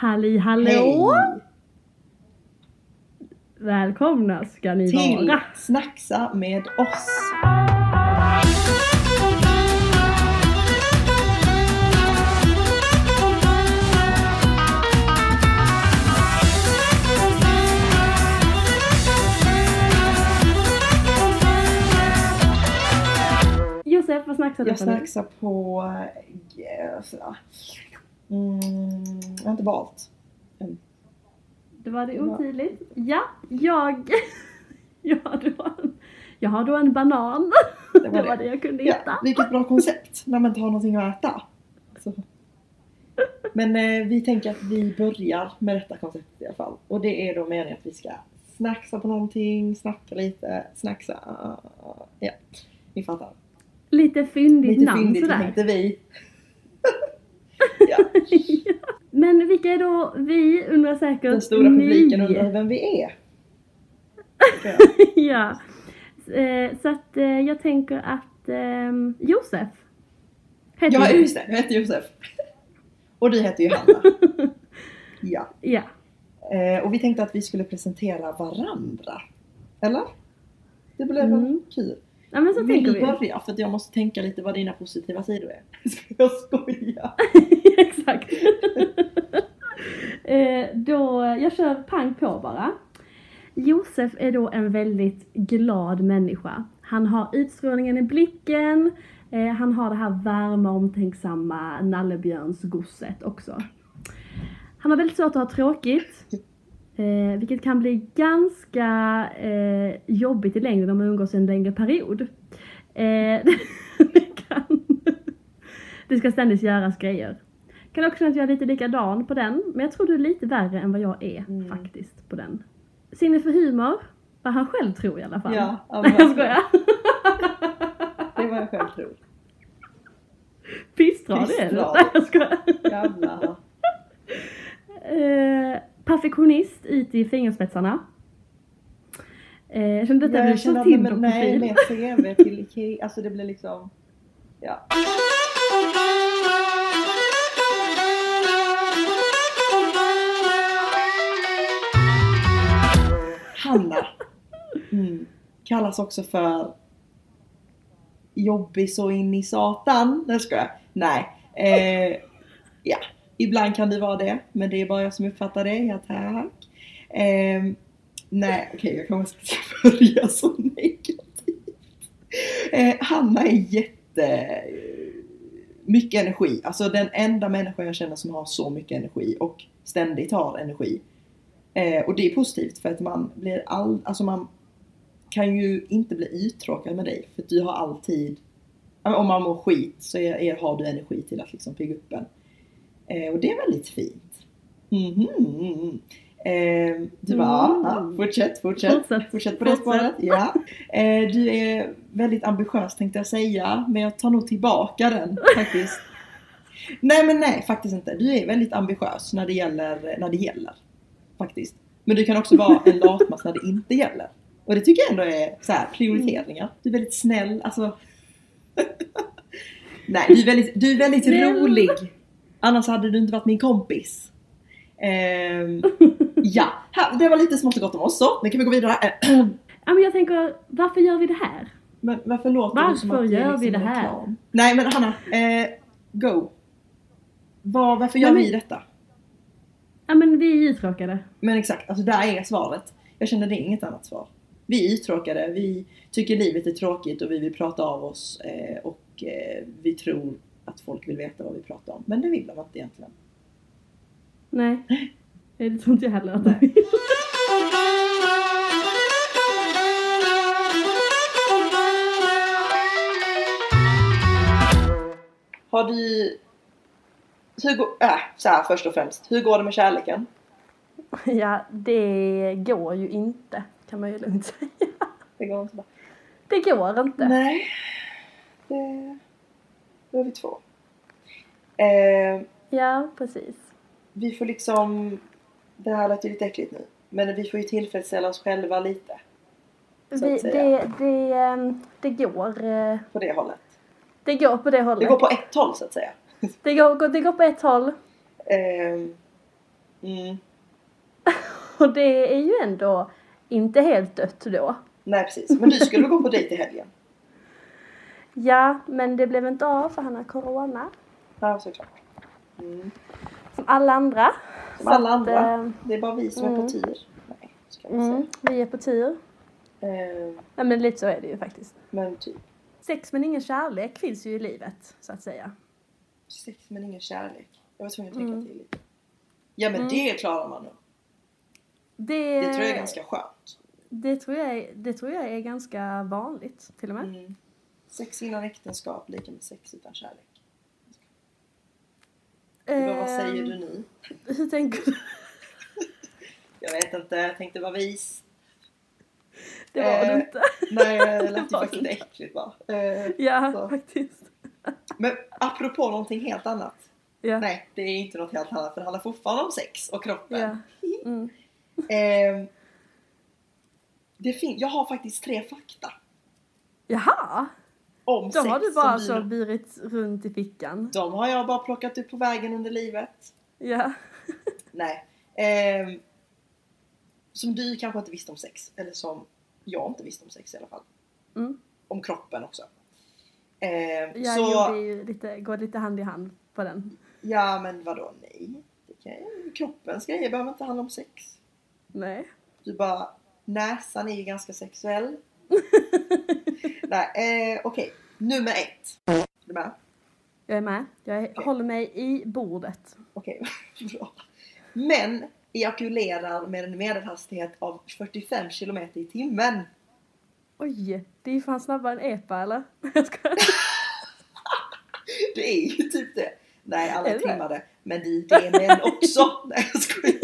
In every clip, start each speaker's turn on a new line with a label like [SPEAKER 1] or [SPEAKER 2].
[SPEAKER 1] Halli hallå! Välkomna ska ni
[SPEAKER 2] Hej till
[SPEAKER 1] vara!
[SPEAKER 2] Snacksa med oss.
[SPEAKER 1] Josef, vad snacksar du
[SPEAKER 2] Jag
[SPEAKER 1] på nu?
[SPEAKER 2] snacksar på... eh, sådär. Mm, jag har inte valt.
[SPEAKER 1] Det var det otydligt. Ja, jag... Jag har då en, jag har då en banan.
[SPEAKER 2] Det
[SPEAKER 1] Det
[SPEAKER 2] var
[SPEAKER 1] var
[SPEAKER 2] det.
[SPEAKER 1] det jag kunde
[SPEAKER 2] Ja,
[SPEAKER 1] hitta.
[SPEAKER 2] vilket bra koncept när man inte har någonting att äta. Så. Men eh, vi tänker att vi börjar med detta konceptet i alla fall. Och det är då meningen att vi ska snacksa på någonting, snacka lite, snacksa... ah, Ja, ni fattar.
[SPEAKER 1] Lite fyndigt
[SPEAKER 2] Lite
[SPEAKER 1] namn
[SPEAKER 2] fyndigt
[SPEAKER 1] sådär.
[SPEAKER 2] tänkte vi. ja,
[SPEAKER 1] Men vilka är då vi undrar säkert
[SPEAKER 2] den stora publiken
[SPEAKER 1] ni.
[SPEAKER 2] undrar vem vi är. Ja.
[SPEAKER 1] ja. Eh, Så att eh, jag tänker att ehm, Josef heter
[SPEAKER 2] Ja,
[SPEAKER 1] du.
[SPEAKER 2] just det. Jag heter Josef. Och du heter Johanna. Ja.
[SPEAKER 1] Ja.
[SPEAKER 2] Eh, och vi tänkte att vi skulle presentera varandra. Eller? Det blev väl
[SPEAKER 1] Mm.
[SPEAKER 2] kul.
[SPEAKER 1] ja, men så
[SPEAKER 2] Vill
[SPEAKER 1] tänker
[SPEAKER 2] du
[SPEAKER 1] vi.
[SPEAKER 2] börja? För att jag måste tänka lite vad dina positiva sidor är. Ska jag skoja?
[SPEAKER 1] Exakt. eh, då, jag kör pang på bara. Josef är då en väldigt glad människa. Han har utstrålningen i blicken, eh, han har det här varma omtänksamma nallebjörnsgosset också. Han har väldigt svårt att ha tråkigt, eh, vilket kan bli ganska eh, jobbigt i längden om man umgås en längre period. Eh, det kan det ska ständigt göras grejer. Kan också känna att jag är lite likadan på den, men jag tror du är lite värre än vad jag är
[SPEAKER 2] Mm.
[SPEAKER 1] faktiskt på den. Sinne för humor, vad han själv tror i alla fall.
[SPEAKER 2] Ja, ja,
[SPEAKER 1] Nej jag skojar.
[SPEAKER 2] Det är vad jag själv tror.
[SPEAKER 1] Pissdrar det
[SPEAKER 2] Pissdrar.
[SPEAKER 1] eller? Nej jag skojar.
[SPEAKER 2] Jävlar.
[SPEAKER 1] Eh, perfektionist ut i fingerspetsarna. Eh, jag kände att detta blev så
[SPEAKER 2] att nej, men nej,
[SPEAKER 1] Tinder-profil.
[SPEAKER 2] med CV till Ikea. Alltså det blir liksom... Ja. Hanna. Mm. Kallas också för jobbig så in i satan. Nej ska jag. Nej. Eh, ja, ibland kan det vara det. Men det är bara jag som uppfattar det. Ja tack. Ehm, nej, okej jag kanske inte ska börja så negativt. Eh, Hanna är jätte... Mycket energi. Alltså den enda människa jag känner som har så mycket energi och ständigt har energi. Eh, och det är positivt för att man blir all... Alltså man kan ju inte bli uttråkad med dig för att du har alltid... ja, men Om man mår skit så är, är, har du energi till att liksom pigga upp en. Eh, och det är väldigt fint. Mhm. Eh, du bara,
[SPEAKER 1] Mm.
[SPEAKER 2] ja, fortsätt, fortsätt.
[SPEAKER 1] Fortsätt.
[SPEAKER 2] Fortsätt på det spåret. Ja. Eh, du är väldigt ambitiös tänkte jag säga, men jag tar nog tillbaka den faktiskt. Nej men nej, faktiskt inte. Du är väldigt ambitiös när det gäller, när det gäller. Faktiskt. Men du kan också vara en latmask när det inte gäller. Och det tycker jag ändå är så här, prioriteringar. Du är väldigt snäll, alltså. nej, du är väldigt, du är väldigt
[SPEAKER 1] Snäll.
[SPEAKER 2] rolig. Annars hade du inte varit min kompis. Ehm, ja, här, det var lite smått och gott om oss så. Nu kan vi gå vidare. Eh,
[SPEAKER 1] Ja men jag tänker, varför gör vi det här?
[SPEAKER 2] Men varför låter det som att
[SPEAKER 1] Varför
[SPEAKER 2] det är
[SPEAKER 1] gör
[SPEAKER 2] liksom
[SPEAKER 1] vi det här?
[SPEAKER 2] reklam? Nej men Hanna, eh, go! Var, varför gör
[SPEAKER 1] Nej,
[SPEAKER 2] vi detta?
[SPEAKER 1] Ja men vi är uttråkade.
[SPEAKER 2] Men exakt, alltså där är svaret. Jag känner det är inget annat svar. Vi är uttråkade, vi tycker livet är tråkigt och vi vill prata av oss eh, och eh, vi tror att folk vill veta vad vi pratar om. Men det vill de inte egentligen.
[SPEAKER 1] Nej. Det tror inte jag heller att
[SPEAKER 2] Nej.
[SPEAKER 1] de vill.
[SPEAKER 2] Har du... Hur går... Äh, så här först och främst. Hur går det med kärleken?
[SPEAKER 1] Ja, det går ju inte kan man ju lugnt säga.
[SPEAKER 2] Det går inte bra.
[SPEAKER 1] Det går inte.
[SPEAKER 2] Nej. Det... Då är vi två. Eh,
[SPEAKER 1] Ja, precis.
[SPEAKER 2] vi får liksom... Det här låter ju lite äckligt nu. Men vi får ju tillfredsställa oss själva lite. Så att
[SPEAKER 1] Vi,
[SPEAKER 2] säga.
[SPEAKER 1] det, det, ehm, det, går, eh,
[SPEAKER 2] På det hållet.
[SPEAKER 1] det går på det
[SPEAKER 2] Det
[SPEAKER 1] hållet.
[SPEAKER 2] går på ett håll så att säga.
[SPEAKER 1] det, går, det går på ett håll.
[SPEAKER 2] Ehm, Mm.
[SPEAKER 1] Och det är ju ändå inte helt dött då.
[SPEAKER 2] Nej precis, men du skulle gå på dejt i helgen.
[SPEAKER 1] Ja, men det blev inte av för han har corona.
[SPEAKER 2] Ja såklart. Mm.
[SPEAKER 1] Som alla andra.
[SPEAKER 2] Som alla
[SPEAKER 1] Så att,
[SPEAKER 2] andra.
[SPEAKER 1] eh,
[SPEAKER 2] Det är bara vi som är
[SPEAKER 1] mm.
[SPEAKER 2] på tur. Nej, ska man
[SPEAKER 1] mm, vi är på tur.
[SPEAKER 2] säga. Eh,
[SPEAKER 1] Nej men lite så är det ju faktiskt.
[SPEAKER 2] men typ
[SPEAKER 1] Sex men ingen kärlek finns ju i livet, så att säga.
[SPEAKER 2] sex men ingen kärlek. Jag var tvungen att tänka
[SPEAKER 1] Mm.
[SPEAKER 2] till lite. Ja men
[SPEAKER 1] Mm. Eh.
[SPEAKER 2] det klarar man nog.
[SPEAKER 1] Det,
[SPEAKER 2] Det tror jag är ganska skönt.
[SPEAKER 1] Det tror jag, är- det tror jag är ganska vanligt, till och med.
[SPEAKER 2] Mm. Sex innan äktenskap lika med sex utan kärlek. Men Mm. vad säger
[SPEAKER 1] Ehm,
[SPEAKER 2] du nu?
[SPEAKER 1] Hur tänker du?
[SPEAKER 2] Jag vet inte, jag tänkte vara vis.
[SPEAKER 1] Det var
[SPEAKER 2] Eh,
[SPEAKER 1] det inte.
[SPEAKER 2] Nej, det lät ju
[SPEAKER 1] var
[SPEAKER 2] faktiskt
[SPEAKER 1] inte.
[SPEAKER 2] äckligt va? Eh,
[SPEAKER 1] Ja,
[SPEAKER 2] så.
[SPEAKER 1] faktiskt.
[SPEAKER 2] Men apropå någonting helt annat.
[SPEAKER 1] Ja.
[SPEAKER 2] Nej, det är inte något helt annat för det handlar fortfarande om sex och kroppen.
[SPEAKER 1] Ja. Mm.
[SPEAKER 2] Ehm, det fin- jag har faktiskt tre fakta
[SPEAKER 1] Jaha!
[SPEAKER 2] om
[SPEAKER 1] Då
[SPEAKER 2] sex.
[SPEAKER 1] har du bara
[SPEAKER 2] som
[SPEAKER 1] alltså
[SPEAKER 2] vi-
[SPEAKER 1] burit runt i fickan.
[SPEAKER 2] De har jag bara plockat upp på vägen under livet.
[SPEAKER 1] Ja.
[SPEAKER 2] Nej. Ehm, som du kanske inte visste om sex. Eller som jag inte visste om sex i alla fall.
[SPEAKER 1] Mm.
[SPEAKER 2] Om kroppen också. Ehm,
[SPEAKER 1] Jag
[SPEAKER 2] så,
[SPEAKER 1] gjorde ju lite, går lite hand i hand på den.
[SPEAKER 2] ja men vadå nej? Det kan, ju- kroppens grejer behöver inte handla om sex.
[SPEAKER 1] Nej.
[SPEAKER 2] Du bara, näsan är ju ganska sexuell. nej, eh, okej. Nummer ett. Är du med?
[SPEAKER 1] Jag är med. Jag är,
[SPEAKER 2] Okej.
[SPEAKER 1] håller mig i bordet.
[SPEAKER 2] Okej, bra. Män ejakulerar med en medelhastighet av 45 km i timmen.
[SPEAKER 1] Oj! Det är ju fan snabbare än EPA eller? Jag skojar.
[SPEAKER 2] Det är ju typ det. Nej, alla
[SPEAKER 1] Är
[SPEAKER 2] är
[SPEAKER 1] det det?
[SPEAKER 2] trimmade. Men det, det är män också. Nej, jag skojar.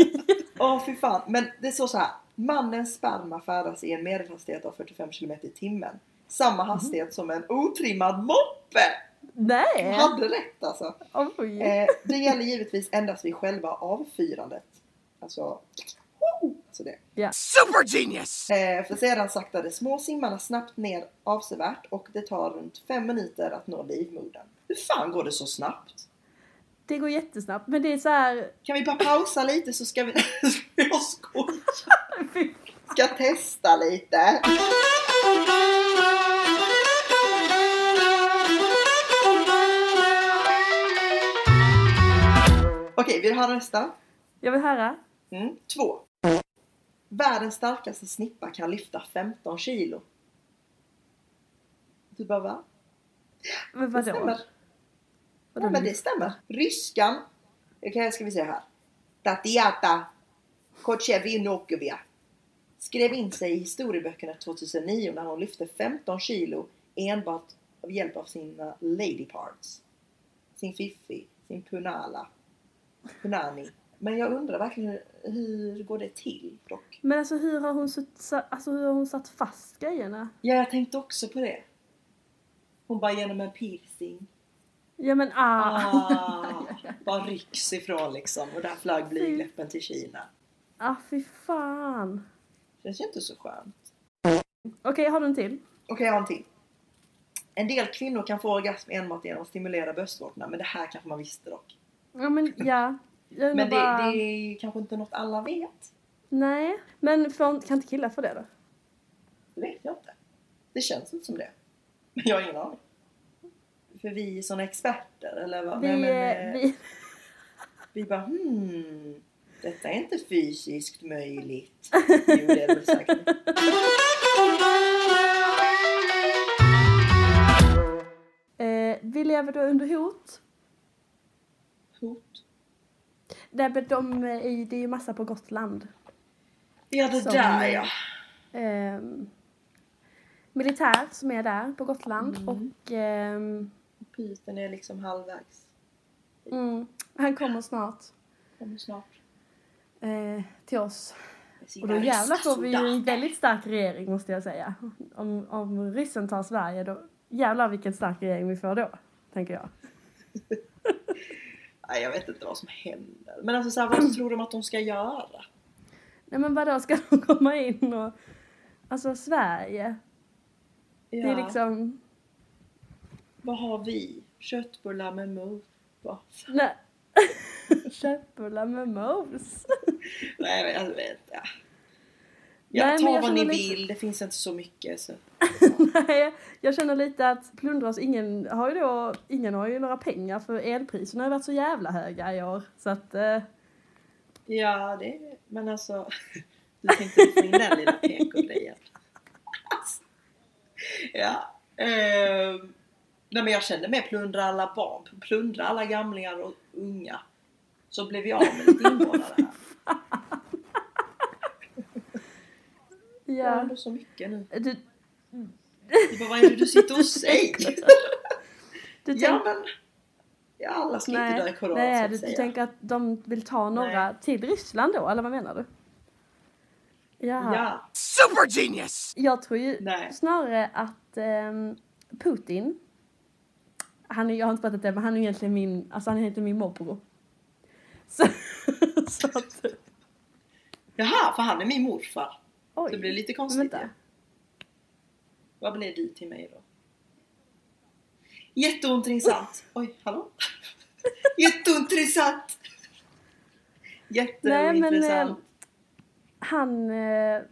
[SPEAKER 2] Åh, fy fan. Men det står så här. Mannens sperma färdas i en medelhastighet av 45 km i timmen. Samma hastighet som en otrimmad moppe! Du
[SPEAKER 1] Nej!
[SPEAKER 2] hade rätt alltså.
[SPEAKER 1] Oj!
[SPEAKER 2] Eh, det gäller givetvis endast vid själva avfyrandet. Alltså... Så det.
[SPEAKER 3] Super genius!
[SPEAKER 2] Eh, för sedan saktar de små simmarna snabbt ner avsevärt och det tar runt 5 minuter att nå livmodern. Hur fan går det så snabbt?
[SPEAKER 1] Det går jättesnabbt men det är så här...
[SPEAKER 2] Kan vi bara pausa lite så ska vi... Jag skojar!
[SPEAKER 1] Fy
[SPEAKER 2] Ska testa lite! Okej, vill du höra nästa?
[SPEAKER 1] Jag vill höra.
[SPEAKER 2] Mm. Två. Världens starkaste snippa kan lyfta 15 kilo. Du bara va?
[SPEAKER 1] Men
[SPEAKER 2] Det
[SPEAKER 1] vadå?
[SPEAKER 2] stämmer.
[SPEAKER 1] Vadå?
[SPEAKER 2] Nej, men det stämmer. Ryskan. Okej, ska vi se här. Tatiata Kochevinokovia skrev in sig i historieböckerna 2009 när hon lyfte 15 kilo enbart av hjälp av sina lady parts. Sin fiffi, sin punala, punani. Men jag undrar verkligen hur, hur går det till dock?
[SPEAKER 1] Men alltså hur har hon, sutt, alltså, hur har hon satt fast grejerna?
[SPEAKER 2] Ja, jag tänkte också på det. Hon bara genom en piercing.
[SPEAKER 1] Ja men ah!
[SPEAKER 2] Ah, bara rycks ifrån liksom och där flög blygdläppen till Kina.
[SPEAKER 1] Ah fy fan!
[SPEAKER 2] Känns ju inte så skönt.
[SPEAKER 1] Okej, har du en till?
[SPEAKER 2] Okej, jag har en till. En del kvinnor kan få orgasm enbart genom att stimulera bröstvårtorna, men det här kanske man visste dock.
[SPEAKER 1] Ja men ja. Jag
[SPEAKER 2] Men det,
[SPEAKER 1] bara,
[SPEAKER 2] det är kanske inte något alla vet.
[SPEAKER 1] Nej. Men får, kan inte killar få det då?
[SPEAKER 2] Det vet jag inte. Det känns inte som det. Men jag har ingen aning. För vi är såna experter, eller vad?
[SPEAKER 1] Vi,
[SPEAKER 2] Nej, men,
[SPEAKER 1] eh,
[SPEAKER 2] eh,
[SPEAKER 1] vi,
[SPEAKER 2] Vi bara hmm, detta är inte fysiskt möjligt. jo, det är det väl säkert.
[SPEAKER 1] eh, vi lever då under hot.
[SPEAKER 2] Hot.
[SPEAKER 1] Nej men de är, i- det är ju massa på Gotland.
[SPEAKER 2] Ja, det
[SPEAKER 1] Som-
[SPEAKER 2] där ja.
[SPEAKER 1] Ehm, militär som är där på Gotland
[SPEAKER 2] Mm.
[SPEAKER 1] och ehm,
[SPEAKER 2] Pyten är liksom halvvägs.
[SPEAKER 1] mm, han kommer snart
[SPEAKER 2] Kommer snart.
[SPEAKER 1] eh, till oss.
[SPEAKER 2] Det ser
[SPEAKER 1] Och då
[SPEAKER 2] där
[SPEAKER 1] jävlar
[SPEAKER 2] ryska
[SPEAKER 1] får vi ju en
[SPEAKER 2] soldater.
[SPEAKER 1] väldigt stark regering måste jag säga. Om, om ryssen tar Sverige då jävlar vilken stark regering vi får då. Tänker jag.
[SPEAKER 2] Nej, jag vet inte vad som händer. Men alltså så här, vad tror de att de ska göra?
[SPEAKER 1] Nej men vadå ska de komma in och... Alltså Sverige.
[SPEAKER 2] Ja.
[SPEAKER 1] Det är liksom...
[SPEAKER 2] Vad har vi? Köttbullar med muffa.
[SPEAKER 1] Nej. Köttbullar med mums.
[SPEAKER 2] Nej men jag vet inte.
[SPEAKER 1] Nej, men
[SPEAKER 2] Jag tar
[SPEAKER 1] jag
[SPEAKER 2] vad ni
[SPEAKER 1] känner lite-
[SPEAKER 2] vill, det finns inte så mycket så.
[SPEAKER 1] Nej, jag känner lite att plundras, ingen har ju då, ingen har ju några pengar för elpriserna har ju varit så jävla höga i år. Så att, eh,
[SPEAKER 2] Ja det, men alltså. Du tänkte få in den lilla PK-grejen. Alltså. Ja. ehm, nej men jag kände mer plundra alla barn, plundra alla gamlingar och unga. Så blev jag av med lite invånare här. Jag har
[SPEAKER 1] ja.
[SPEAKER 2] ändå så mycket nu.
[SPEAKER 1] Du,
[SPEAKER 2] Det bara, vad är det du sitter och säger?
[SPEAKER 1] du
[SPEAKER 2] Ja
[SPEAKER 1] tänk-
[SPEAKER 2] men. Ja alla ska inte dö i corona så
[SPEAKER 1] nej
[SPEAKER 2] att
[SPEAKER 1] du, du
[SPEAKER 2] säga.
[SPEAKER 1] tänker att de vill ta några till Ryssland då, eller vad menar du? Jaha.
[SPEAKER 2] Ja.
[SPEAKER 3] Super genius!
[SPEAKER 1] Jag tror ju
[SPEAKER 2] Nej.
[SPEAKER 1] snarare att ehm, Putin, han är, jag har inte pratat det, men han är egentligen min, alltså han är egentligen min morbror. Så, så att,
[SPEAKER 2] Jaha, för han är min morfar.
[SPEAKER 1] oj.
[SPEAKER 2] Det blir lite
[SPEAKER 1] Men
[SPEAKER 2] konstigt
[SPEAKER 1] vänta.
[SPEAKER 2] ju. Vad blir du till mig då? Jätteintressant! Oj, hallå? Jätteintressant!
[SPEAKER 1] Nej, men, eh,
[SPEAKER 2] Jätteintressant.
[SPEAKER 1] han eh,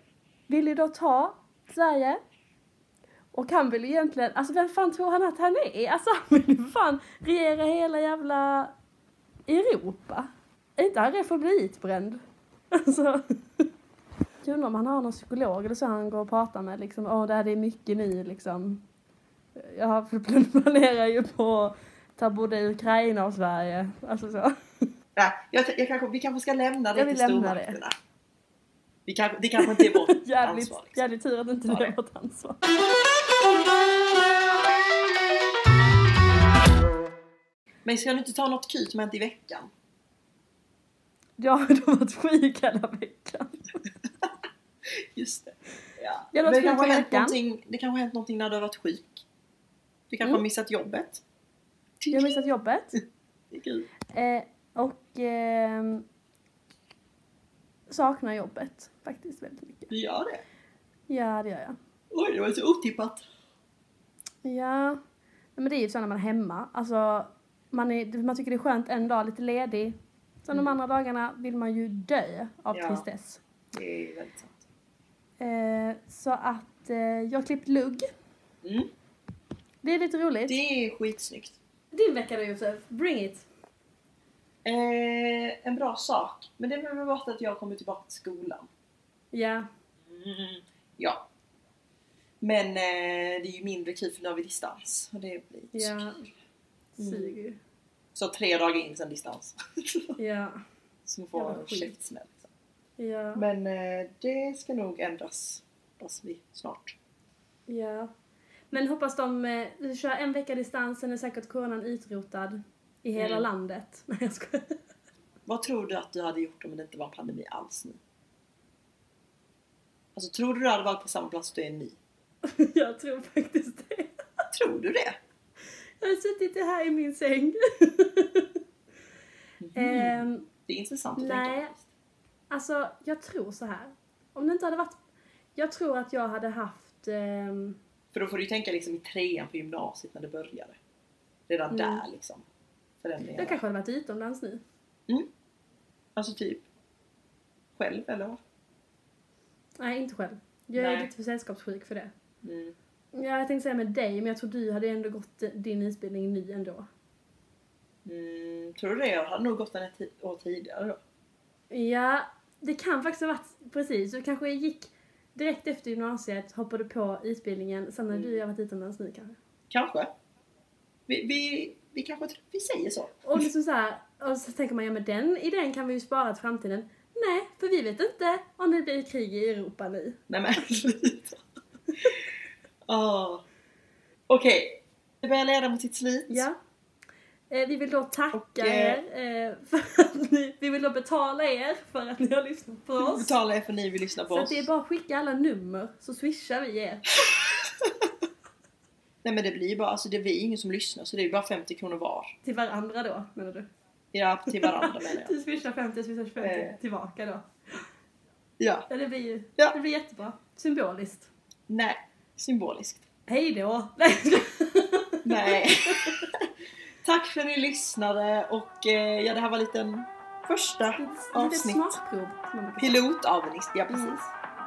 [SPEAKER 1] vill ju då ta Sverige. Och han vill ju egentligen, alltså vem fan tror han att han är? Alltså han vill ju fan regera hela jävla Europa. Är inte han rädd för att bli utbränd? Alltså. Jag undrar om han har någon psykolog eller så han går och pratar med liksom, åh det här är mycket nu liksom. Ja, för de planerar ju på att ta både Ukraina och Sverige. Alltså så.
[SPEAKER 2] Nej, jag, jag kanske, vi kanske ska lämna det
[SPEAKER 1] Jag
[SPEAKER 2] till
[SPEAKER 1] vill lämna det.
[SPEAKER 2] stormakterna. Vi kanske, det kanske inte är vårt
[SPEAKER 1] Jävligt,
[SPEAKER 2] ansvar. Liksom.
[SPEAKER 1] jävligt tur att inte
[SPEAKER 2] Ja,
[SPEAKER 1] det är
[SPEAKER 2] det.
[SPEAKER 1] vårt ansvar.
[SPEAKER 2] Men ska du inte ta något kul som hänt i veckan?
[SPEAKER 1] Jag har då varit sjuk hela veckan.
[SPEAKER 2] Just det. Ja.
[SPEAKER 1] Ja, något
[SPEAKER 2] Men det
[SPEAKER 1] kul
[SPEAKER 2] kanske,
[SPEAKER 1] i
[SPEAKER 2] har hänt
[SPEAKER 1] veckan.
[SPEAKER 2] någonting, det kanske har hänt någonting när du har varit sjuk. Du kanske
[SPEAKER 1] Mm.
[SPEAKER 2] har missat jobbet.
[SPEAKER 1] Jag har missat jobbet.
[SPEAKER 2] Det är kul.
[SPEAKER 1] Eh, och ehm, saknar jobbet faktiskt väldigt mycket.
[SPEAKER 2] Du gör det?
[SPEAKER 1] Ja, det gör jag.
[SPEAKER 2] Oj, det var så otippat.
[SPEAKER 1] Ja, Nej, men det är ju så när man är hemma. Alltså, man, är, man tycker det är skönt en dag, lite ledig. Sen de andra dagarna vill man ju dö av
[SPEAKER 2] Mm. Ja.
[SPEAKER 1] tristess.
[SPEAKER 2] Det är väldigt sant.
[SPEAKER 1] Eh, så att eh, jag har klippt lugg.
[SPEAKER 2] Mm.
[SPEAKER 1] Det är lite roligt.
[SPEAKER 2] Det är skitsnyggt.
[SPEAKER 1] Din vecka då Josef, bring it!
[SPEAKER 2] Eh, en bra sak, men det har väl varit att jag kommer tillbaka till skolan.
[SPEAKER 1] Ja, Mm.
[SPEAKER 2] Ja. Men eh, det är ju mindre kul för nu har vi distans. Och det blir inte så
[SPEAKER 1] ja.
[SPEAKER 2] kul.
[SPEAKER 1] Suger ju.
[SPEAKER 2] Så tre dagar in sen distans.
[SPEAKER 1] Ja.
[SPEAKER 2] Som får
[SPEAKER 1] Jävla
[SPEAKER 2] en
[SPEAKER 1] skit.
[SPEAKER 2] käftsmäll. liksom.
[SPEAKER 1] Ja.
[SPEAKER 2] Men eh, det ska nog ändras. Hoppas vi snart.
[SPEAKER 1] Ja. Men hoppas de, eh, du kör en vecka distans, sen är säkert coronan utrotad i hela
[SPEAKER 2] Mm.
[SPEAKER 1] landet. Nej jag skojar.
[SPEAKER 2] Vad tror du att du hade gjort om det inte var en pandemi alls nu? Alltså tror du du hade varit på samma plats du är nu?
[SPEAKER 1] Jag tror faktiskt det.
[SPEAKER 2] Tror du det?
[SPEAKER 1] Jag har suttit här i min säng.
[SPEAKER 2] Mhm.
[SPEAKER 1] Ehm,
[SPEAKER 2] Det är intressant att
[SPEAKER 1] Nej.
[SPEAKER 2] tänka på.
[SPEAKER 1] Alltså, jag tror så här. Om det inte hade varit... Jag tror att jag hade haft... ehm,
[SPEAKER 2] För då får du ju tänka liksom i trean på gymnasiet när det började. Redan
[SPEAKER 1] Mm.
[SPEAKER 2] där liksom. Förändringar.
[SPEAKER 1] jag kanske hade varit utomlands nu.
[SPEAKER 2] Alltså typ själv eller? vad?
[SPEAKER 1] Nej, inte själv. Jag är
[SPEAKER 2] Nej.
[SPEAKER 1] lite för sällskapssjuk för det.
[SPEAKER 2] Mm.
[SPEAKER 1] Ja, jag tänkte säga med dig, men jag tror du hade ändå gått eh, din utbildning nu ändå.
[SPEAKER 2] Mm, tror du det? Jag hade nog gått den ett ti- år tidigare då.
[SPEAKER 1] Ja, det kan faktiskt ha varit precis. Du kanske gick direkt efter gymnasiet, hoppade på utbildningen, sen när
[SPEAKER 2] Mm.
[SPEAKER 1] du har varit utomlands nu kanske.
[SPEAKER 2] Kanske. Vi, vi, vi kanske tr- vi säger så.
[SPEAKER 1] Och liksom så här, och så tänker man, ja men den idén kan vi ju spara till framtiden. Nej, för vi vet inte om det blir krig i Europa nu.
[SPEAKER 2] Nej men sluta. Ah. Okej. Det börjar leda mot sitt slut.
[SPEAKER 1] Ja. Eh, vi vill då tacka
[SPEAKER 2] Och, eh,
[SPEAKER 1] er, eh, för att ni, vi vill då betala er för att ni har lyssnat på
[SPEAKER 2] Vi
[SPEAKER 1] oss.
[SPEAKER 2] betalar er för ni vill lyssna på
[SPEAKER 1] Så att
[SPEAKER 2] oss.
[SPEAKER 1] det är bara att skicka alla nummer så swishar vi er.
[SPEAKER 2] Nej men det blir ju bara, alltså det är vi ingen som lyssnar så det är ju bara 50 kronor var.
[SPEAKER 1] Till varandra då, menar du?
[SPEAKER 2] Ja, till varandra menar jag.
[SPEAKER 1] Du swishar 50, jag swishar 50
[SPEAKER 2] Eh.
[SPEAKER 1] tillbaka då.
[SPEAKER 2] Ja.
[SPEAKER 1] Ja, det blir ju
[SPEAKER 2] Ja.
[SPEAKER 1] det blir jättebra. Symboliskt.
[SPEAKER 2] Nej, symboliskt.
[SPEAKER 1] Hej då! Nej, jag skojar.
[SPEAKER 2] Nej. Tack för att ni lyssnade och eh, ja, det här var en liten första
[SPEAKER 1] Litet
[SPEAKER 2] avsnitt.
[SPEAKER 1] smakprov. som man brukar säga.
[SPEAKER 2] Pilot av en is- ja precis.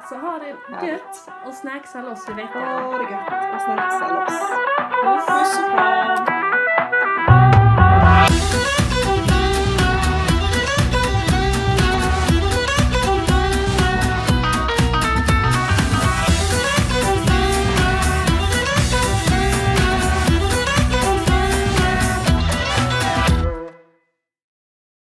[SPEAKER 1] Så ha det
[SPEAKER 2] Härligt.
[SPEAKER 1] gött och snacksa loss i veckan.
[SPEAKER 2] Ha det gött och snälla loss.